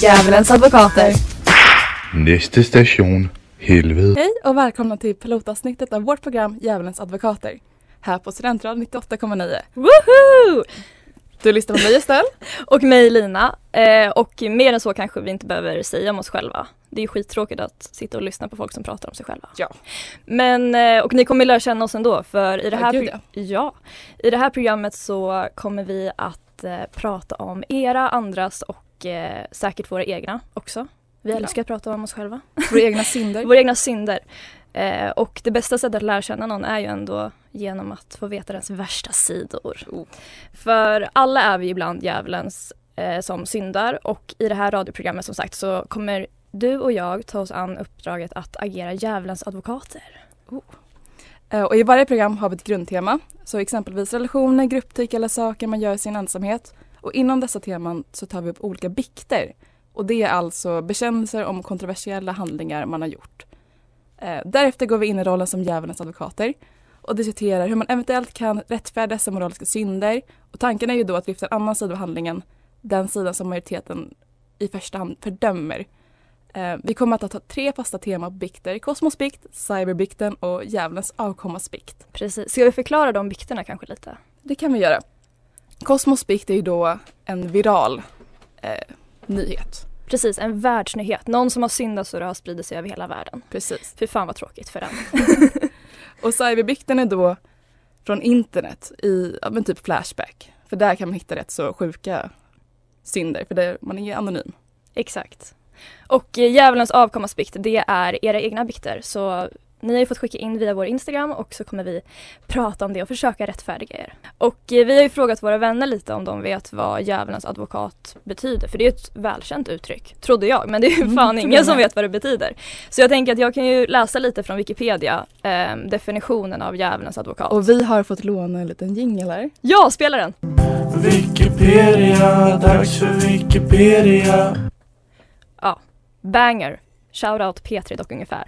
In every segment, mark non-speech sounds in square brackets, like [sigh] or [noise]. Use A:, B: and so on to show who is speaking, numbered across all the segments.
A: Djävulens advokater.
B: Næste station, helvede.
C: Hej och välkomna till pilotavsnittet av vårt program Djävulens advokater. Här på Studentradion 98,9.
D: Woohoo!
C: Du lyssnar på mig Estelle.
D: [laughs] Och mig Lina. Eh, och mer än så kanske vi inte behöver säga om oss själva. Det är ju skittråkigt att sitta och lyssna på folk som pratar om sig själva.
C: Ja.
D: Men, eh, och ni kommer lära känna oss ändå för i det
C: Ja,
D: här,
C: gud,
D: prog- ja, i det här programmet så kommer vi att eh, prata om era, andras och eh, säkert våra egna också. Vi
C: Ja.
D: älskar att prata om oss själva.
C: Våra egna [laughs] synder.
D: Våra egna synder. Eh, och det bästa sättet att lära känna någon är ju ändå genom att få veta dens värsta sidor. För alla är vi ibland djävulens eh, som syndar och i det här radioprogrammet som sagt så kommer du och jag ta oss an uppdraget att agera djävulens advokater.
C: Eh, Och I varje program har vi ett grundtema, så exempelvis relationer, grupptryck eller saker man gör i sin ensamhet. Och inom dessa teman så tar vi upp olika bikter. Och det är alltså bekännelser om kontroversiella handlingar man har gjort. Eh, Därefter går vi in i rollen som djävulens advokater och diskuterar hur man eventuellt kan rättfärdiga dessa moraliska synder. Och tanken är ju då att lyfta en annan sida av handlingen, den sidan som majoriteten i första hand fördömer. Eh, Vi kommer att ha tre fasta teman på bikter, kosmosbikt, cyberbikten och djävulens avkommas bikt.
D: Precis. Ska vi förklara de bikterna kanske lite?
C: Det kan vi göra. Kosmosbikt är ju då en viral eh, nyhet.
D: Precis, en världsnyhet. Någon som har syndat så det har spridit sig över hela världen.
C: Precis.
D: Fy fan vad tråkigt för den.
C: Och cyberbikten är då från internet i ja, men typ Flashback. För där kan man hitta rätt så sjuka synder, för där man är anonym.
D: Exakt. Och eh, djävulens avkommasbikt, det är era egna bikter. Så ni har ju fått skicka in via vår Instagram och så kommer vi prata om det och försöka rättfärdiga er. Och eh, vi har ju frågat våra vänner lite om de vet vad djävulens advokat betyder. För det är ju ett välkänt uttryck, trodde jag. Men det är ju
C: Mm,
D: fan
C: trodde
D: ingen
C: jag
D: som
C: med.
D: vet vad det betyder. Så jag tänker att jag kan ju läsa lite från Wikipedia, eh, definitionen av djävulens advokat.
C: Och vi har fått låna en liten jingel här.
D: Ja, spela den!
E: Wikipedia, dags för Wikipedia.
D: Banger. Shoutout P3 dock ungefär.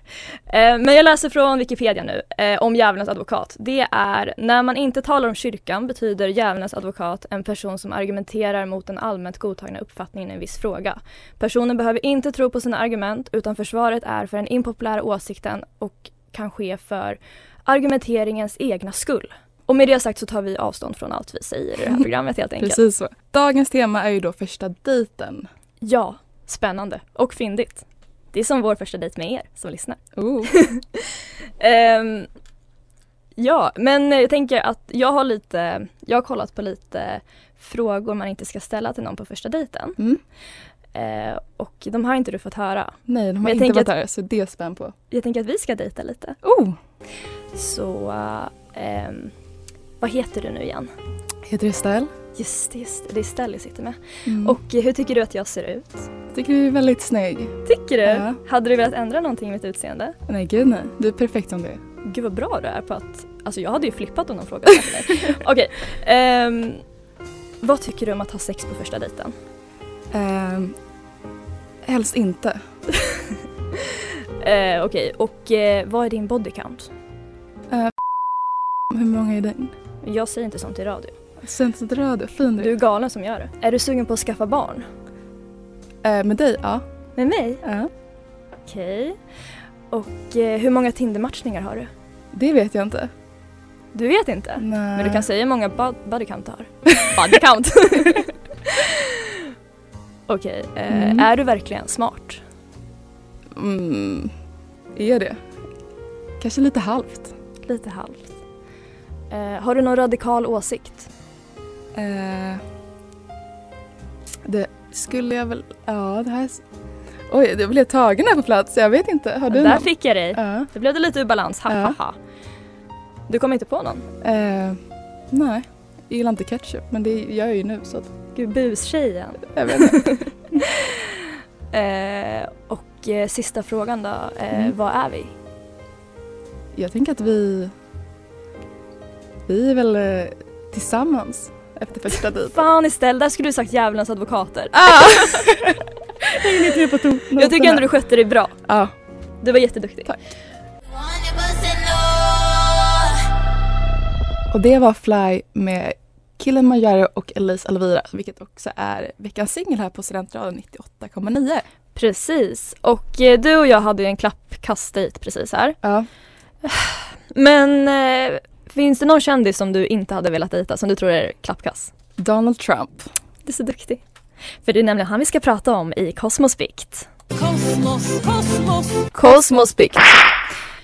D: Eh, men jag läser från Wikipedia nu eh, om djävulens advokat. Det är när man inte talar om kyrkan betyder djävulens advokat en person som argumenterar mot den allmänt godtagna uppfattningen i en viss fråga. Personen behöver inte tro på sina argument utan försvaret är för den impopulära åsikten och kan ske för argumenteringens egna skull. Och med det sagt så tar vi avstånd från allt vi säger i det här programmet helt enkelt.
C: Precis så. Dagens tema är ju då första dejten.
D: Ja, spännande och fyndigt. Det är som vår första dejt med er som lyssnar.
C: Oh.
D: Ehm, ja, men jag tänker att jag har lite, jag har kollat på lite frågor man inte ska ställa till någon på första dejten.
C: Mm.
D: Eh, och de har inte du fått höra.
C: Nej, de
D: Men
C: har
D: jag
C: inte
D: tänker
C: varit
D: att-
C: där, så det är spänn på.
D: Jag tänker att vi ska dejta lite.
C: Oh!
D: Så, ehm, vad heter du nu igen?
C: Heter det Estelle?
D: Just det, just det, det är Stell jag sitter med.
C: Mm.
D: Och hur tycker du att jag ser ut?
C: tycker du är väldigt snygg.
D: Tycker du?
C: Ja.
D: Hade du velat ändra någonting i mitt utseende?
C: Nej gud nej, du är perfekt som det är.
D: Gud vad bra du är på att, alltså jag hade ju flippat om någon frågade
C: [laughs]
D: efter mig. Okej, ehm, vad tycker du om att ha sex på första dejten?
C: Ehm, helst inte.
D: Eh, Okej, och eh, vad är din body count?
C: Hur många är den?
D: Jag säger inte sånt i radio.
C: Sen så drar du, fin
D: Du
C: du.
D: är galen som gör det. Är du sugen på att skaffa barn?
C: Eh, med dig, ja.
D: Med mig?
C: Ja.
D: Okej. Och eh, hur många Tinder-matchningar har du?
C: Det vet jag inte.
D: Du vet inte?
C: Nej.
D: Men du kan säga hur många bo- body
C: [laughs]
D: count du har. Body count! [laughs] Okej, eh,
C: Mm.
D: är du verkligen smart?
C: Mm, är det? Kanske lite halvt.
D: Lite halvt. Eh, har du någon radikal åsikt?
C: Eh, det skulle jag väl... Ja, det här... är s- Oj, jag blev tagen här på plats. Jag vet inte. Har du
D: Där
C: någon?
D: fick jag dig.
C: Ja.
D: Då blev det lite ur balans, ha,
C: Ja.
D: ha, ha. Du kom inte på någon?
C: Eh, nej. Jag gillar inte ketchup men det gör jag ju nu så att,
D: Gud, bustjejen.
C: jag vet inte.
D: Eh, och eh, sista frågan då, eh,
C: Mm.
D: vad är vi?
C: [laughs] Jag tänker att vi... Vi är väl eh, tillsammans efter [laughs] första dejten.
D: Fan istället, där skulle du sagt djävulens advokater.
C: Ah! [laughs] jag är lite mer på to-
D: Jag tycker ändå du skötte dig bra.
C: Ja.
D: Du var jätteduktig.
C: Tack. Och det var Fly med Killen Majaro och Elise Alvira vilket också är veckans singel här på Studentradion 98,9.
D: Precis. Och eh, du och jag hade ju en klappkastdejt precis här.
C: Ja.
D: Men eh, finns det någon kändis som du inte hade velat dejta som du tror är klappkass?
C: Donald Trump.
D: Du är så duktig. För det är nämligen han vi ska prata om i Kosmosbikt.
C: Kosmosbikt.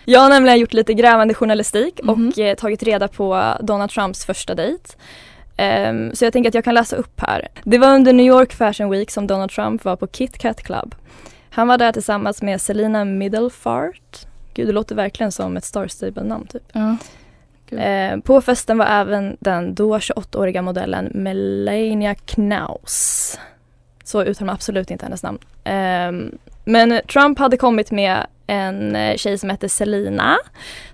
D: Jag har nämligen gjort lite grävande journalistik
C: Mhm.
D: och eh, tagit reda på Donald Trumps första dejt. Ehm, så jag tänker att jag kan läsa upp här. Det var under New York Fashion Week som Donald Trump var på Kit Kat Club. Han var där tillsammans med Selina Middlefart. Gud, det låter verkligen som ett Star Stable-namn typ.
C: Ja. Kul.
D: Ehm, på festen var även den då 28-åriga modellen Melania Knaus. Så uttalar man absolut inte hennes namn. Ehm, men Trump hade kommit med en eh, tjej som hette Selina,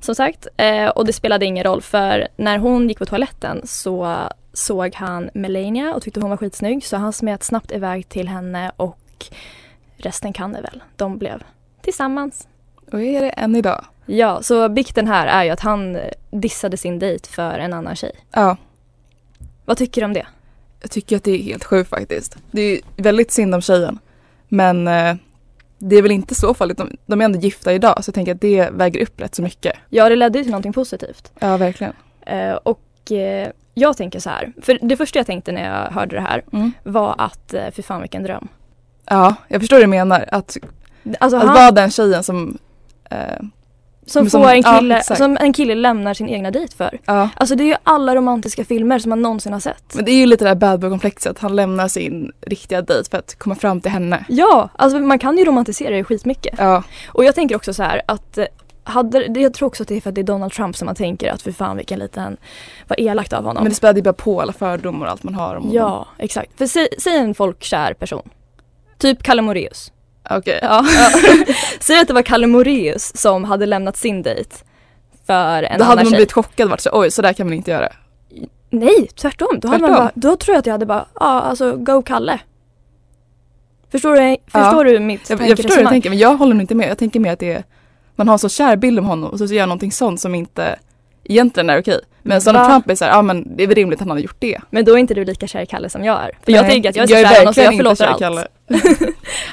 D: som sagt. Eh, och det spelade ingen roll för när hon gick på toaletten så såg han Melania och tyckte hon var skitsnygg så han smet snabbt iväg till henne och resten kan det väl. De blev tillsammans.
C: Och är det än idag.
D: Ja, så bikten här är ju att han eh, dissade sin dejt för en annan tjej.
C: Ja.
D: Vad tycker du om det?
C: Jag tycker att det är helt sjukt faktiskt. Det är ju väldigt synd om tjejen. Men eh, det är väl inte så farligt. De, de är ändå gifta idag så jag tänker att det väger upp rätt så mycket.
D: Ja, det ledde ju till någonting positivt.
C: Ja, verkligen.
D: Eh, och eh, jag tänker så här, för det första jag tänkte när jag hörde det här
C: Mm.
D: var att, eh, fy fan vilken dröm.
C: Ja, jag förstår vad du menar. Att,
D: Alltså
C: att
D: han
C: vara den tjejen som... Eh,
D: som,
C: som-
D: får en
C: ja,
D: kille,
C: exakt.
D: som en kille lämnar sin egna dejt för.
C: ja.
D: Alltså det är ju alla romantiska filmer som man någonsin har sett.
C: Men det är ju lite det här bad boy-komplexet. att Han lämnar sin riktiga dejt för att komma fram till henne.
D: Ja, alltså man kan ju romantisera det skitmycket.
C: Ja,
D: Och jag tänker också så här att eh, hade, det- jag tror också att det är för att det är Donald Trump som man tänker att för fan vilken liten, vad elakt av honom.
C: men det späder ju bara på alla fördomar och allt man har om honom.
D: ja, exakt. För säg, säg en folkkär person. Typ Kalle Moraeus.
C: Okej.
D: Ja. Säg att det var Kalle Moraeus som hade lämnat sin dejt för en
C: Då hade
D: annan
C: man
D: tjej.
C: blivit chockad och varit så oj så där kan man inte göra.
D: Nej, tvärtom. Då, hade man
C: Tvärtom.
D: bara, då tror jag att jag hade bara, ja alltså go Kalle. Förstår du, förstår du mitt
C: Typ, Jag, jag förstår hur du
D: tankeresonemang?
C: tänker men jag håller nog inte med. Jag tänker mer att det är, man har en så kär bild om honom och så gör jag någonting sånt som inte egentligen är okej. Men
D: Va?
C: Donald Trump är så här, ja men det är väl rimligt att han har gjort det.
D: Men då är inte du lika kär i Kalle som jag är. För jag
C: Nej,
D: tycker att jag är så kär i honom så jag
C: verkligen inte
D: förlåter
C: kär i
D: allt.
C: Kalle.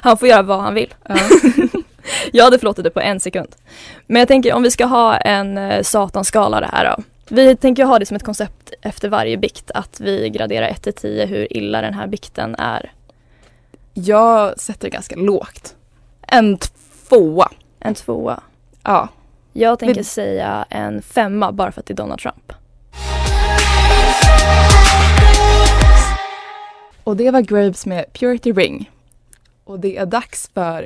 D: Han får göra vad han vill. Jag hade förlåtit det på en sekund. Men jag tänker om vi ska ha en eh, satanskala det här då. Vi tänker ha det som ett koncept efter varje bikt att vi graderar 1 till 10 hur illa den här bikten är.
C: Jag sätter ganska lågt. En tvåa.
D: En tvåa.
C: Ja.
D: Jag tänker
C: Men-
D: säga en femma bara för att det är Donald Trump.
C: Och det var Graves med Purity Ring. Och det är dags för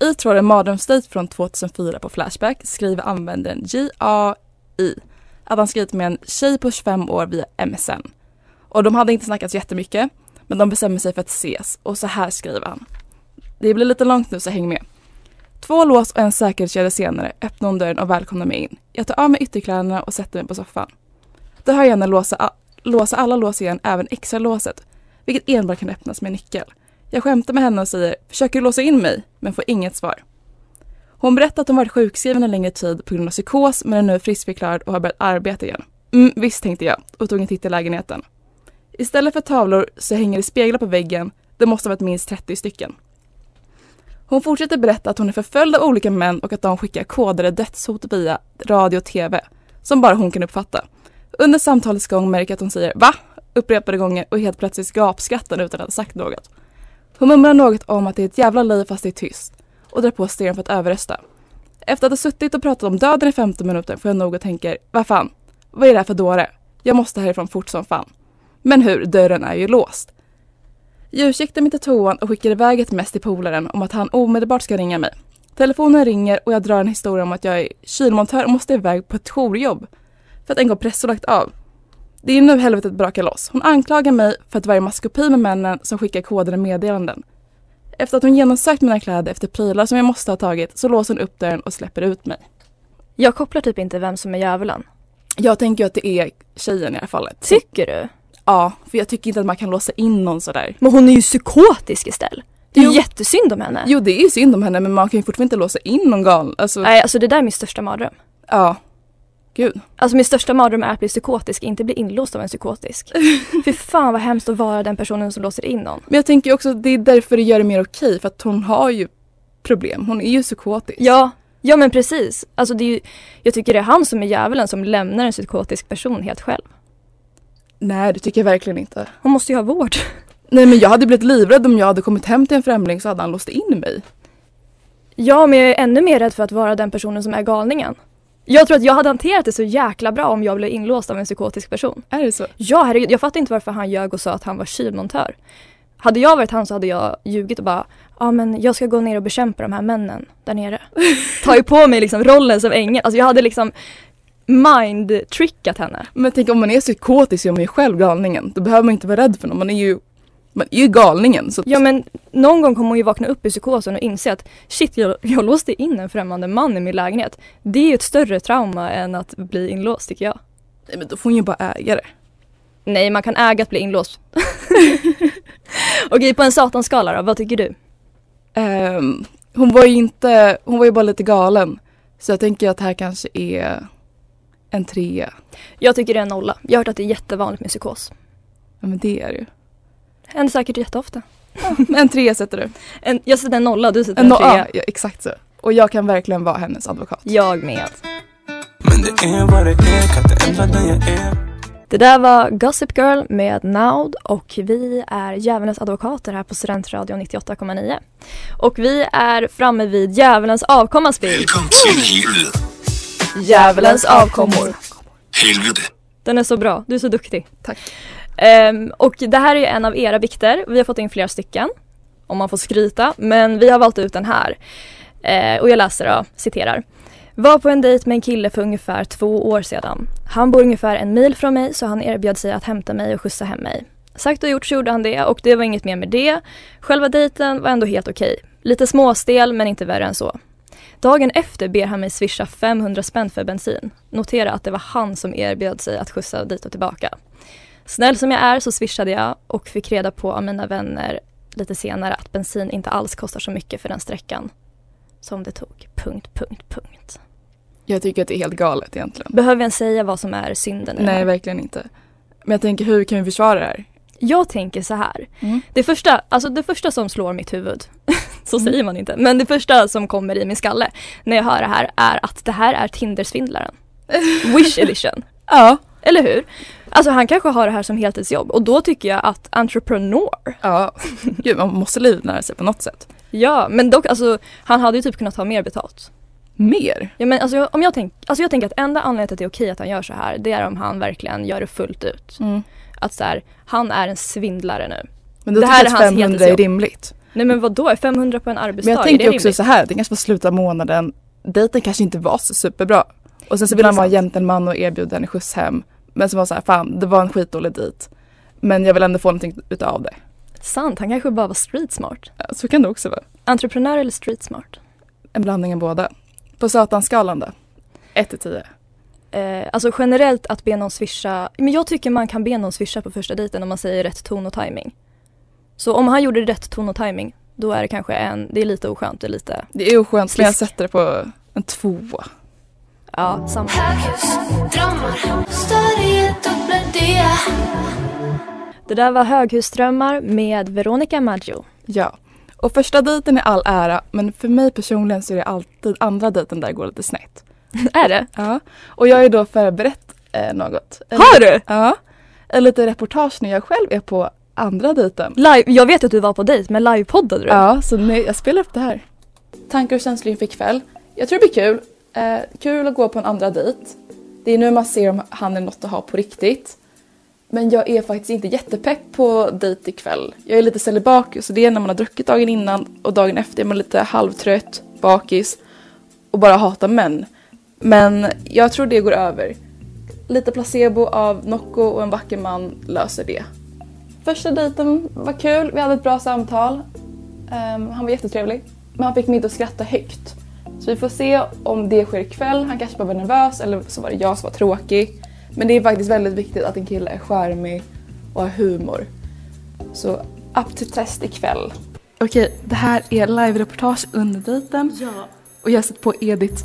C: I tråden Mardrömsdejt från 2004 på Flashback skriver användaren J.A.I. att han skrivit med en tjej på 25 år via MSN. Och de hade inte snackat så jättemycket, men de bestämmer sig för att ses och så här skriver han. Det blir lite långt nu så häng med. Två lås och en säkerhetskedja senare öppnar hon dörren och välkomnar mig in. Jag tar av mig ytterkläderna och sätter mig på soffan. Då hör jag henne låsa, a- låsa alla lås igen, även extra låset, vilket enbart kan öppnas med nyckel. Jag skämtar med henne och säger “försöker du låsa in mig?” men får inget svar. Hon berättar att hon varit sjukskriven en längre tid på grund av psykos men är nu friskförklarad och har börjat arbeta igen. Mm, visst tänkte jag och tog en titt i lägenheten. Istället för tavlor så hänger det speglar på väggen. Det måste ha varit minst 30 stycken. Hon fortsätter berätta att hon är förföljd av olika män och att de skickar kodade dödshot via radio och TV som bara hon kan uppfatta. Under samtalets gång märker jag att hon säger “va?” upprepade gånger och helt plötsligt gapskrattar utan att ha sagt något. Hon mumlar något om att det är ett jävla liv fast det är tyst och drar på stereon för att överrösta. Efter att ha suttit och pratat om döden i 15 minuter får jag nog och tänker “vad fan, vad är det här för dåre? Jag måste härifrån fort som fan.” Men hur, dörren är ju låst. Jag ursäktade mig till toan och skickade iväg ett mess till polaren om att han omedelbart ska ringa mig. Telefonen ringer och jag drar en historia om att jag är kylmontör och måste iväg på ett jourjobb för att en kompressor lagt av. Det är nu helvetet brakar loss. Hon anklagar mig för att vara i maskopi med männen som skickar kodade meddelanden. Efter att hon genomsökt mina kläder efter prylar som jag måste ha tagit så låser hon upp dörren och släpper ut mig.
D: Jag kopplar typ inte vem som är djävulen.
C: Jag tänker ju att det är tjejen i det här fallet.
D: Tycker du?
C: Ja, för jag tycker inte att man kan låsa in någon sådär.
D: Men hon är ju psykotisk istället. Det är ju
C: Jo.
D: jättesynd om henne.
C: Jo, det är ju synd om henne men man kan ju fortfarande inte låsa in någon galen. Alltså,
D: Nej, alltså det där är min största mardröm.
C: ja. Gud.
D: Alltså min största mardröm är att bli psykotisk, inte bli inlåst av en psykotisk. [laughs] Fy fan vad hemskt att vara den personen som låser in någon.
C: Men jag tänker ju också att det är därför det gör det mer okej för att hon har ju problem. Hon är ju psykotisk.
D: Ja, ja men precis. Alltså det är ju, jag tycker det är han som är djävulen som lämnar en psykotisk person helt själv.
C: Nej, det tycker jag verkligen inte.
D: Hon måste ju ha vård.
C: Nej men jag hade blivit livrädd om jag hade kommit hem till en främling så hade han låst in mig.
D: [laughs] Ja, men jag är ännu mer rädd för att vara den personen som är galningen. Jag tror att jag hade hanterat det så jäkla bra om jag blev inlåst av en psykotisk person.
C: Är det så?
D: Ja, herregud, jag fattar inte varför han ljög och sa att han var kylmontör. Hade jag varit han så hade jag ljugit och bara, ja men jag ska gå ner och bekämpa de här männen där [laughs] nere. Tar ju på mig liksom rollen som ängel, alltså jag hade liksom mind-trickat henne.
C: Men tänk om man är psykotisk så är man ju själv galningen. Då behöver man inte vara rädd för någon. Man är ju, man är ju galningen. Så att-
D: Ja men någon gång kommer hon ju vakna upp i psykosen och inse att shit, jag, jag låste in en främmande man i min lägenhet. Det är ju ett större trauma än att bli inlåst tycker jag.
C: Nej, men då får hon ju bara äga det.
D: Nej, man kan äga att bli inlåst. Okej, på en satanskala då, vad tycker du?
C: Ehm, hon var ju inte, hon var ju bara lite galen. Så jag tänker att det här kanske är en trea.
D: Jag tycker det är en nolla. Jag har hört att det är jättevanligt med psykos.
C: Ja men det är det ju. [laughs]
D: Händer säkert jätteofta.
C: Men en trea sätter du.
D: En, jag sätter en nolla, du sätter
C: En
D: en,
C: no-
D: trea.
C: ja, ja, exakt så. Och jag kan verkligen vara hennes advokat.
D: Jag med.
E: Men det är vad det är, kan inte ändra den jag är
D: Det där var Gossip Girl med Naud och vi är Djävulens advokater här på Studentradion 98,9. Och vi är framme vid Djävulens avkomma Bill.
F: Velkommen til helvede.
D: Djävulens avkommor.
F: Helvede.
D: Den är så bra, du är så duktig.
C: Tack.
D: Ehm, och det här är ju en av era bikter. Vi har fått in flera stycken, om man får skryta. Men vi har valt ut den här. Eh, och jag läser då, citerar. Var på en dejt med en kille för ungefär två år sedan. Han bor ungefär en mil från mig så han erbjöd sig att hämta mig och skjutsa hem mig. Sagt och gjort så gjorde han det och det var inget mer med det. Själva dejten var ändå helt okej. Lite småstel men inte värre än så. Dagen efter ber han mig swisha 500 spänn för bensin. Notera att det var han som erbjöd sig att skjutsa dit och tillbaka. Snäll som jag är så swishade jag och fick reda på av mina vänner lite senare att bensin inte alls kostar så mycket för den sträckan som det tog. Punkt, punkt, punkt.
C: Jag tycker att det är helt galet egentligen.
D: Behöver jag ens säga vad som är synden? i det här?
C: Nej verkligen inte. Men jag tänker hur kan vi försvara det här?
D: Jag tänker så här.
C: Mm.
D: Det, första, alltså det första som slår mitt huvud, [laughs] så säger man inte, men det första som kommer i min skalle när jag hör det här är att det här är Tindersvindlaren. Wish edition.
C: Ja.
D: Eller hur? Alltså han kanske har det här som heltidsjobb och då tycker jag att entreprenör
C: Ja. [laughs] Gud man måste livnära sig på något sätt.
D: Ja, men dock alltså han hade ju typ kunnat ha mer betalt.
C: Mer.
D: Ja, men alltså, jag- om jag, tänk, alltså jag tänker att enda anledningen till att det är okej att han gör så här det är om han verkligen gör det fullt ut.
C: Mm.
D: Att så här, han är en svindlare nu.
C: Men då
D: Det
C: det
D: här
C: tycker jag
D: är
C: att
D: hans
C: 500 är
D: heltidsjobb.
C: rimligt.
D: Nej men vad då är 500 på en arbetsdag?
C: Men jag tänker
D: är det
C: också
D: rimligt?
C: så här, det kanske var slutet av månaden. Dejten kanske inte var så superbra. Och sen så vill
D: Det är
C: han vara
D: sant.
C: gentleman och erbjuda henne skjuts hem. Men så var det så här, fan det var en skitdålig dejt. Men jag vill ändå få någonting utav det.
D: Sant, han kanske bara var street smart.
C: Ja, Så kan det också vara.
D: Entreprenör eller street smart?
C: En blandning av båda. På satanskalan då? 1 till 10.
D: Eh, alltså generellt att be någon swisha, men jag tycker man kan be någon swisha på första dejten om man säger rätt ton och timing. Så om han gjorde rätt ton och timing, då är det kanske en, det är lite oskönt, det är lite,
C: Det är oskönt men jag
D: Slisk.
C: sätter det på en 2.
D: ja samma. Det där var Höghusdrömmar med
C: [laughs]
D: Veronica Maggio.
C: Ja. Och första dejten är all ära men för mig personligen så är det alltid andra dejten där går lite snett.
D: Är det?
C: Ja. Och jag har ju då förberett eh, något.
D: Har du?
C: Ja. Ett litet reportage när jag själv är på andra dejten.
D: Live, jag vet att du var på dejt, men livepoddade du?
C: Ja, så nu, jag spelar upp det här. Tankar och känslor inför ikväll. Jag tror det blir kul. Eh, kul att gå på en andra dejt. Det är nu man ser om han är något att ha på riktigt. Men jag är faktiskt inte jättepepp på dejt ikväll. Jag är lite celibakus, så det är när man har druckit dagen innan och dagen efter är man lite halvtrött, bakis och bara hatar män. Men jag tror det går över. Lite placebo av Nocco och en vacker man löser det. Första dejten var kul, vi hade ett bra samtal. Ehm, han var jättetrevlig. Men han fick mig inte att skratta högt. Så vi får se om det sker ikväll. Han kanske bara var nervös eller så var det jag som var tråkig. Men det är faktiskt väldigt viktigt att en kille är charmig och har humor. Så up to test ikväll. Okej, det här är live-reportage under dejten
G: Ja,
C: och jag sitter på Edith.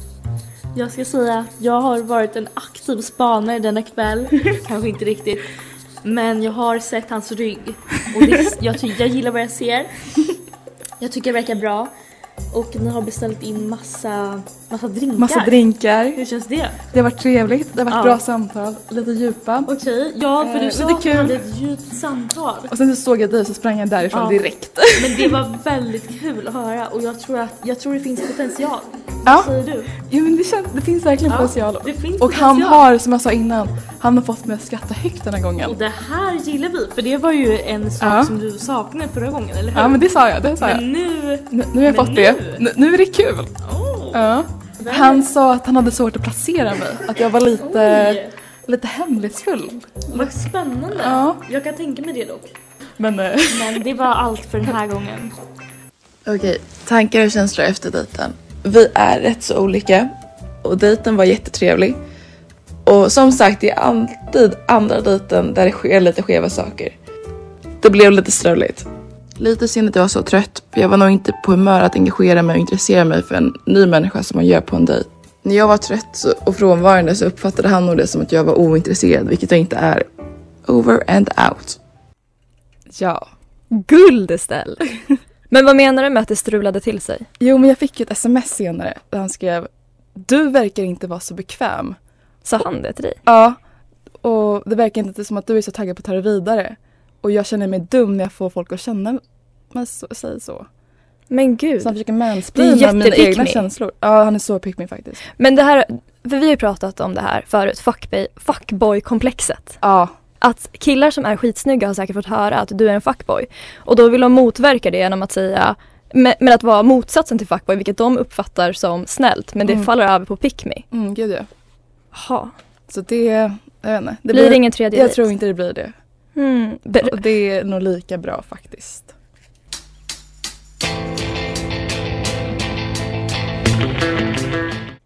G: jag ska säga att jag har varit en aktiv spanare denna
C: [laughs]
G: kväll. Kanske inte riktigt. Men jag har sett hans rygg. Och det, jag, ty- jag gillar vad jag ser. Jag tycker det verkar bra. Och ni har beställt in massa, massa drinkar.
C: Massa drinkar.
G: Hur känns det?
C: Det har varit trevligt, det har varit
G: Ja.
C: bra samtal, lite djupa.
G: Okej, ja för
C: Eh,
G: du sa
C: lite
G: att ni
C: kul.
G: hade ett djupt samtal.
C: Och sen så såg jag dig så sprang jag därifrån
G: Ja.
C: direkt. [laughs]
G: Men det var väldigt kul att höra och jag tror att jag tror det finns potential.
C: Ja.
G: Vad säger du?
C: Jo men det, känns, det finns verkligen potential.
G: det finns
C: Och han
G: potential.
C: har, som jag sa innan, han har fått mig att skratta högt den här
G: Och
C: gången.
G: det här gillar vi för det var ju en sak
C: Ja.
G: som du saknade förra gången, eller hur?
C: Ja men det sa jag, det sa jag.
G: Men nu...
C: Nu, nu har jag
G: Men
C: fått
G: nu?
C: det. Nu, nu är det kul.
G: Oh.
C: Ja.
G: Vem-
C: Han sa att han hade svårt att placera mig. Att jag var lite,
G: Oj,
C: lite hemlighetsfull.
G: vad spännande.
C: Ja.
G: Jag kan tänka mig det dock.
C: Men eh,
G: Men det var allt för den här gången.
C: Okej, tankar och känslor efter dejten. Vi är rätt så olika och dejten var jättetrevlig. Och som sagt, det är alltid andra dejten där det sker lite skeva saker. Det blev lite struligt. Lite synd att jag var så trött, för jag var nog inte på humör att engagera mig och intressera mig för en ny människa som man gör på en dejt. När jag var trött så- och frånvarande så uppfattade han nog det som att jag var ointresserad, vilket jag inte är. Over and out. Ja.
D: Guld Estelle! [laughs] Men vad menar du med att det strulade till sig?
C: Jo, men jag fick ju ett sms senare där han skrev Du verkar inte vara så bekväm.
D: Sa han det till dig?
C: Ja, och det verkar inte som att du är så taggad på att ta det vidare. Och jag känner mig dum när jag får folk att känna mig så, säg så.
D: Men
C: Så han
D: gud.
C: försöker mansplaina mina
D: jättepick
C: egna
D: me.
C: känslor. Ja, han är så pick me faktiskt.
D: Men det här, för vi har ju pratat om det här förut, fuckboy- fuckboy-komplexet.
C: Ja,
D: Att killar som är skitsnygga har säkert fått höra att du är en fuckboy. Och då vill de motverka det genom att säga, men, men att vara motsatsen till fuckboy, vilket de uppfattar som snällt. Men det
C: Mm.
D: faller över på pick me.
C: mm, gud ja.
D: Jaha.
C: Så det, jag vet inte. Det
D: Blir det ingen tredje
C: Jag
D: dejt?
C: tror inte det blir det.
D: Mm. Ber-
C: Och det är nog lika bra faktiskt.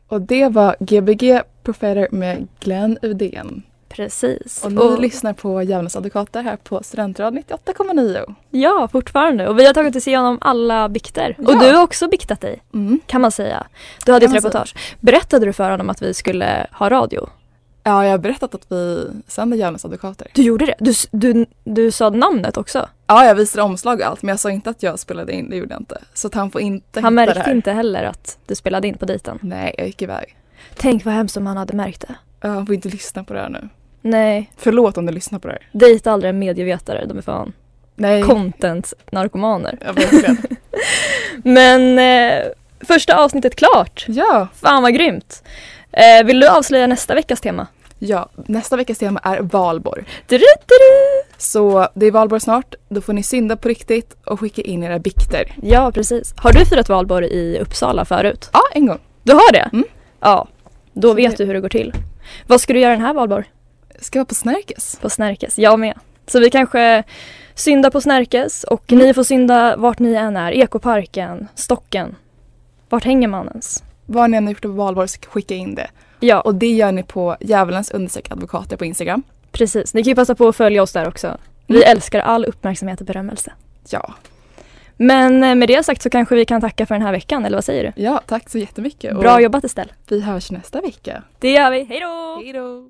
C: Och det var Gbg Profiler med Glenn Udén.
D: Precis.
C: Och ni lyssnar på Djävulens advokater här på Studentrad 98,9.
D: ja, fortfarande. Och vi har tagit oss igenom alla bikter.
C: Ja.
D: Och du har också biktat dig,
C: Mm.
D: kan man säga. Du hade ju
C: Kan
D: ett
C: man säga.
D: reportage. Berättade du för honom att vi skulle ha radio?
C: Ja, jag har berättat att vi sänder Djävulens advokater.
D: Du gjorde det? Du, s- du, du sa namnet också?
C: Ja, jag visade omslag och allt men jag sa inte att jag spelade in, det gjorde jag inte. Så att han får inte
D: Han
C: hitta det
D: märkte
C: här.
D: inte heller att du spelade in på dejten.
C: Nej, jag gick iväg.
D: Tänk vad hemskt om han hade märkt det.
C: Ja, han får inte lyssna på det här nu.
D: Nej,
C: Förlåt om du lyssnar på det här.
D: dejta aldrig en medievetare. De är fan
C: Nej.
D: content-narkomaner.
C: Ja, verkligen.
D: Men eh, första avsnittet klart.
C: ja.
D: Fan vad grymt. Eh, vill du avslöja nästa veckas tema?
C: Ja, nästa veckas tema är valborg.
D: Du-du-du-du!
C: Så det är valborg snart, då får ni synda på riktigt och skicka in era bikter.
D: Ja, precis. Har du firat valborg i Uppsala förut?
C: Ja, en gång.
D: Du har det?
C: Mm.
D: Ja, då
C: Så
D: vet
C: det-
D: du hur det går till. Vad ska du göra den här valborg?
C: Ska vara på Snärkes.
D: På Snärkes? Jag med. Så vi kanske syndar på Snärkes och
C: Mm.
D: ni får synda vart ni än är. Ekoparken, Stocken. Vart hänger man ens?
C: Vad ni än har gjort på valborg så skicka in det.
D: Ja, och
C: Och det gör ni på djävulens undersök advokater på Instagram.
D: precis. Ni kan ju passa på att följa oss där också. Vi
C: Mm.
D: älskar all uppmärksamhet och berömmelse.
C: Ja,
D: Men eh, med det sagt så kanske vi kan tacka för den här veckan, eller vad säger du?
C: ja tack så jättemycket.
D: Bra
C: och
D: jobbat Estelle.
C: Vi hörs nästa vecka.
D: Det gör vi. Hej då!
C: Hejdå!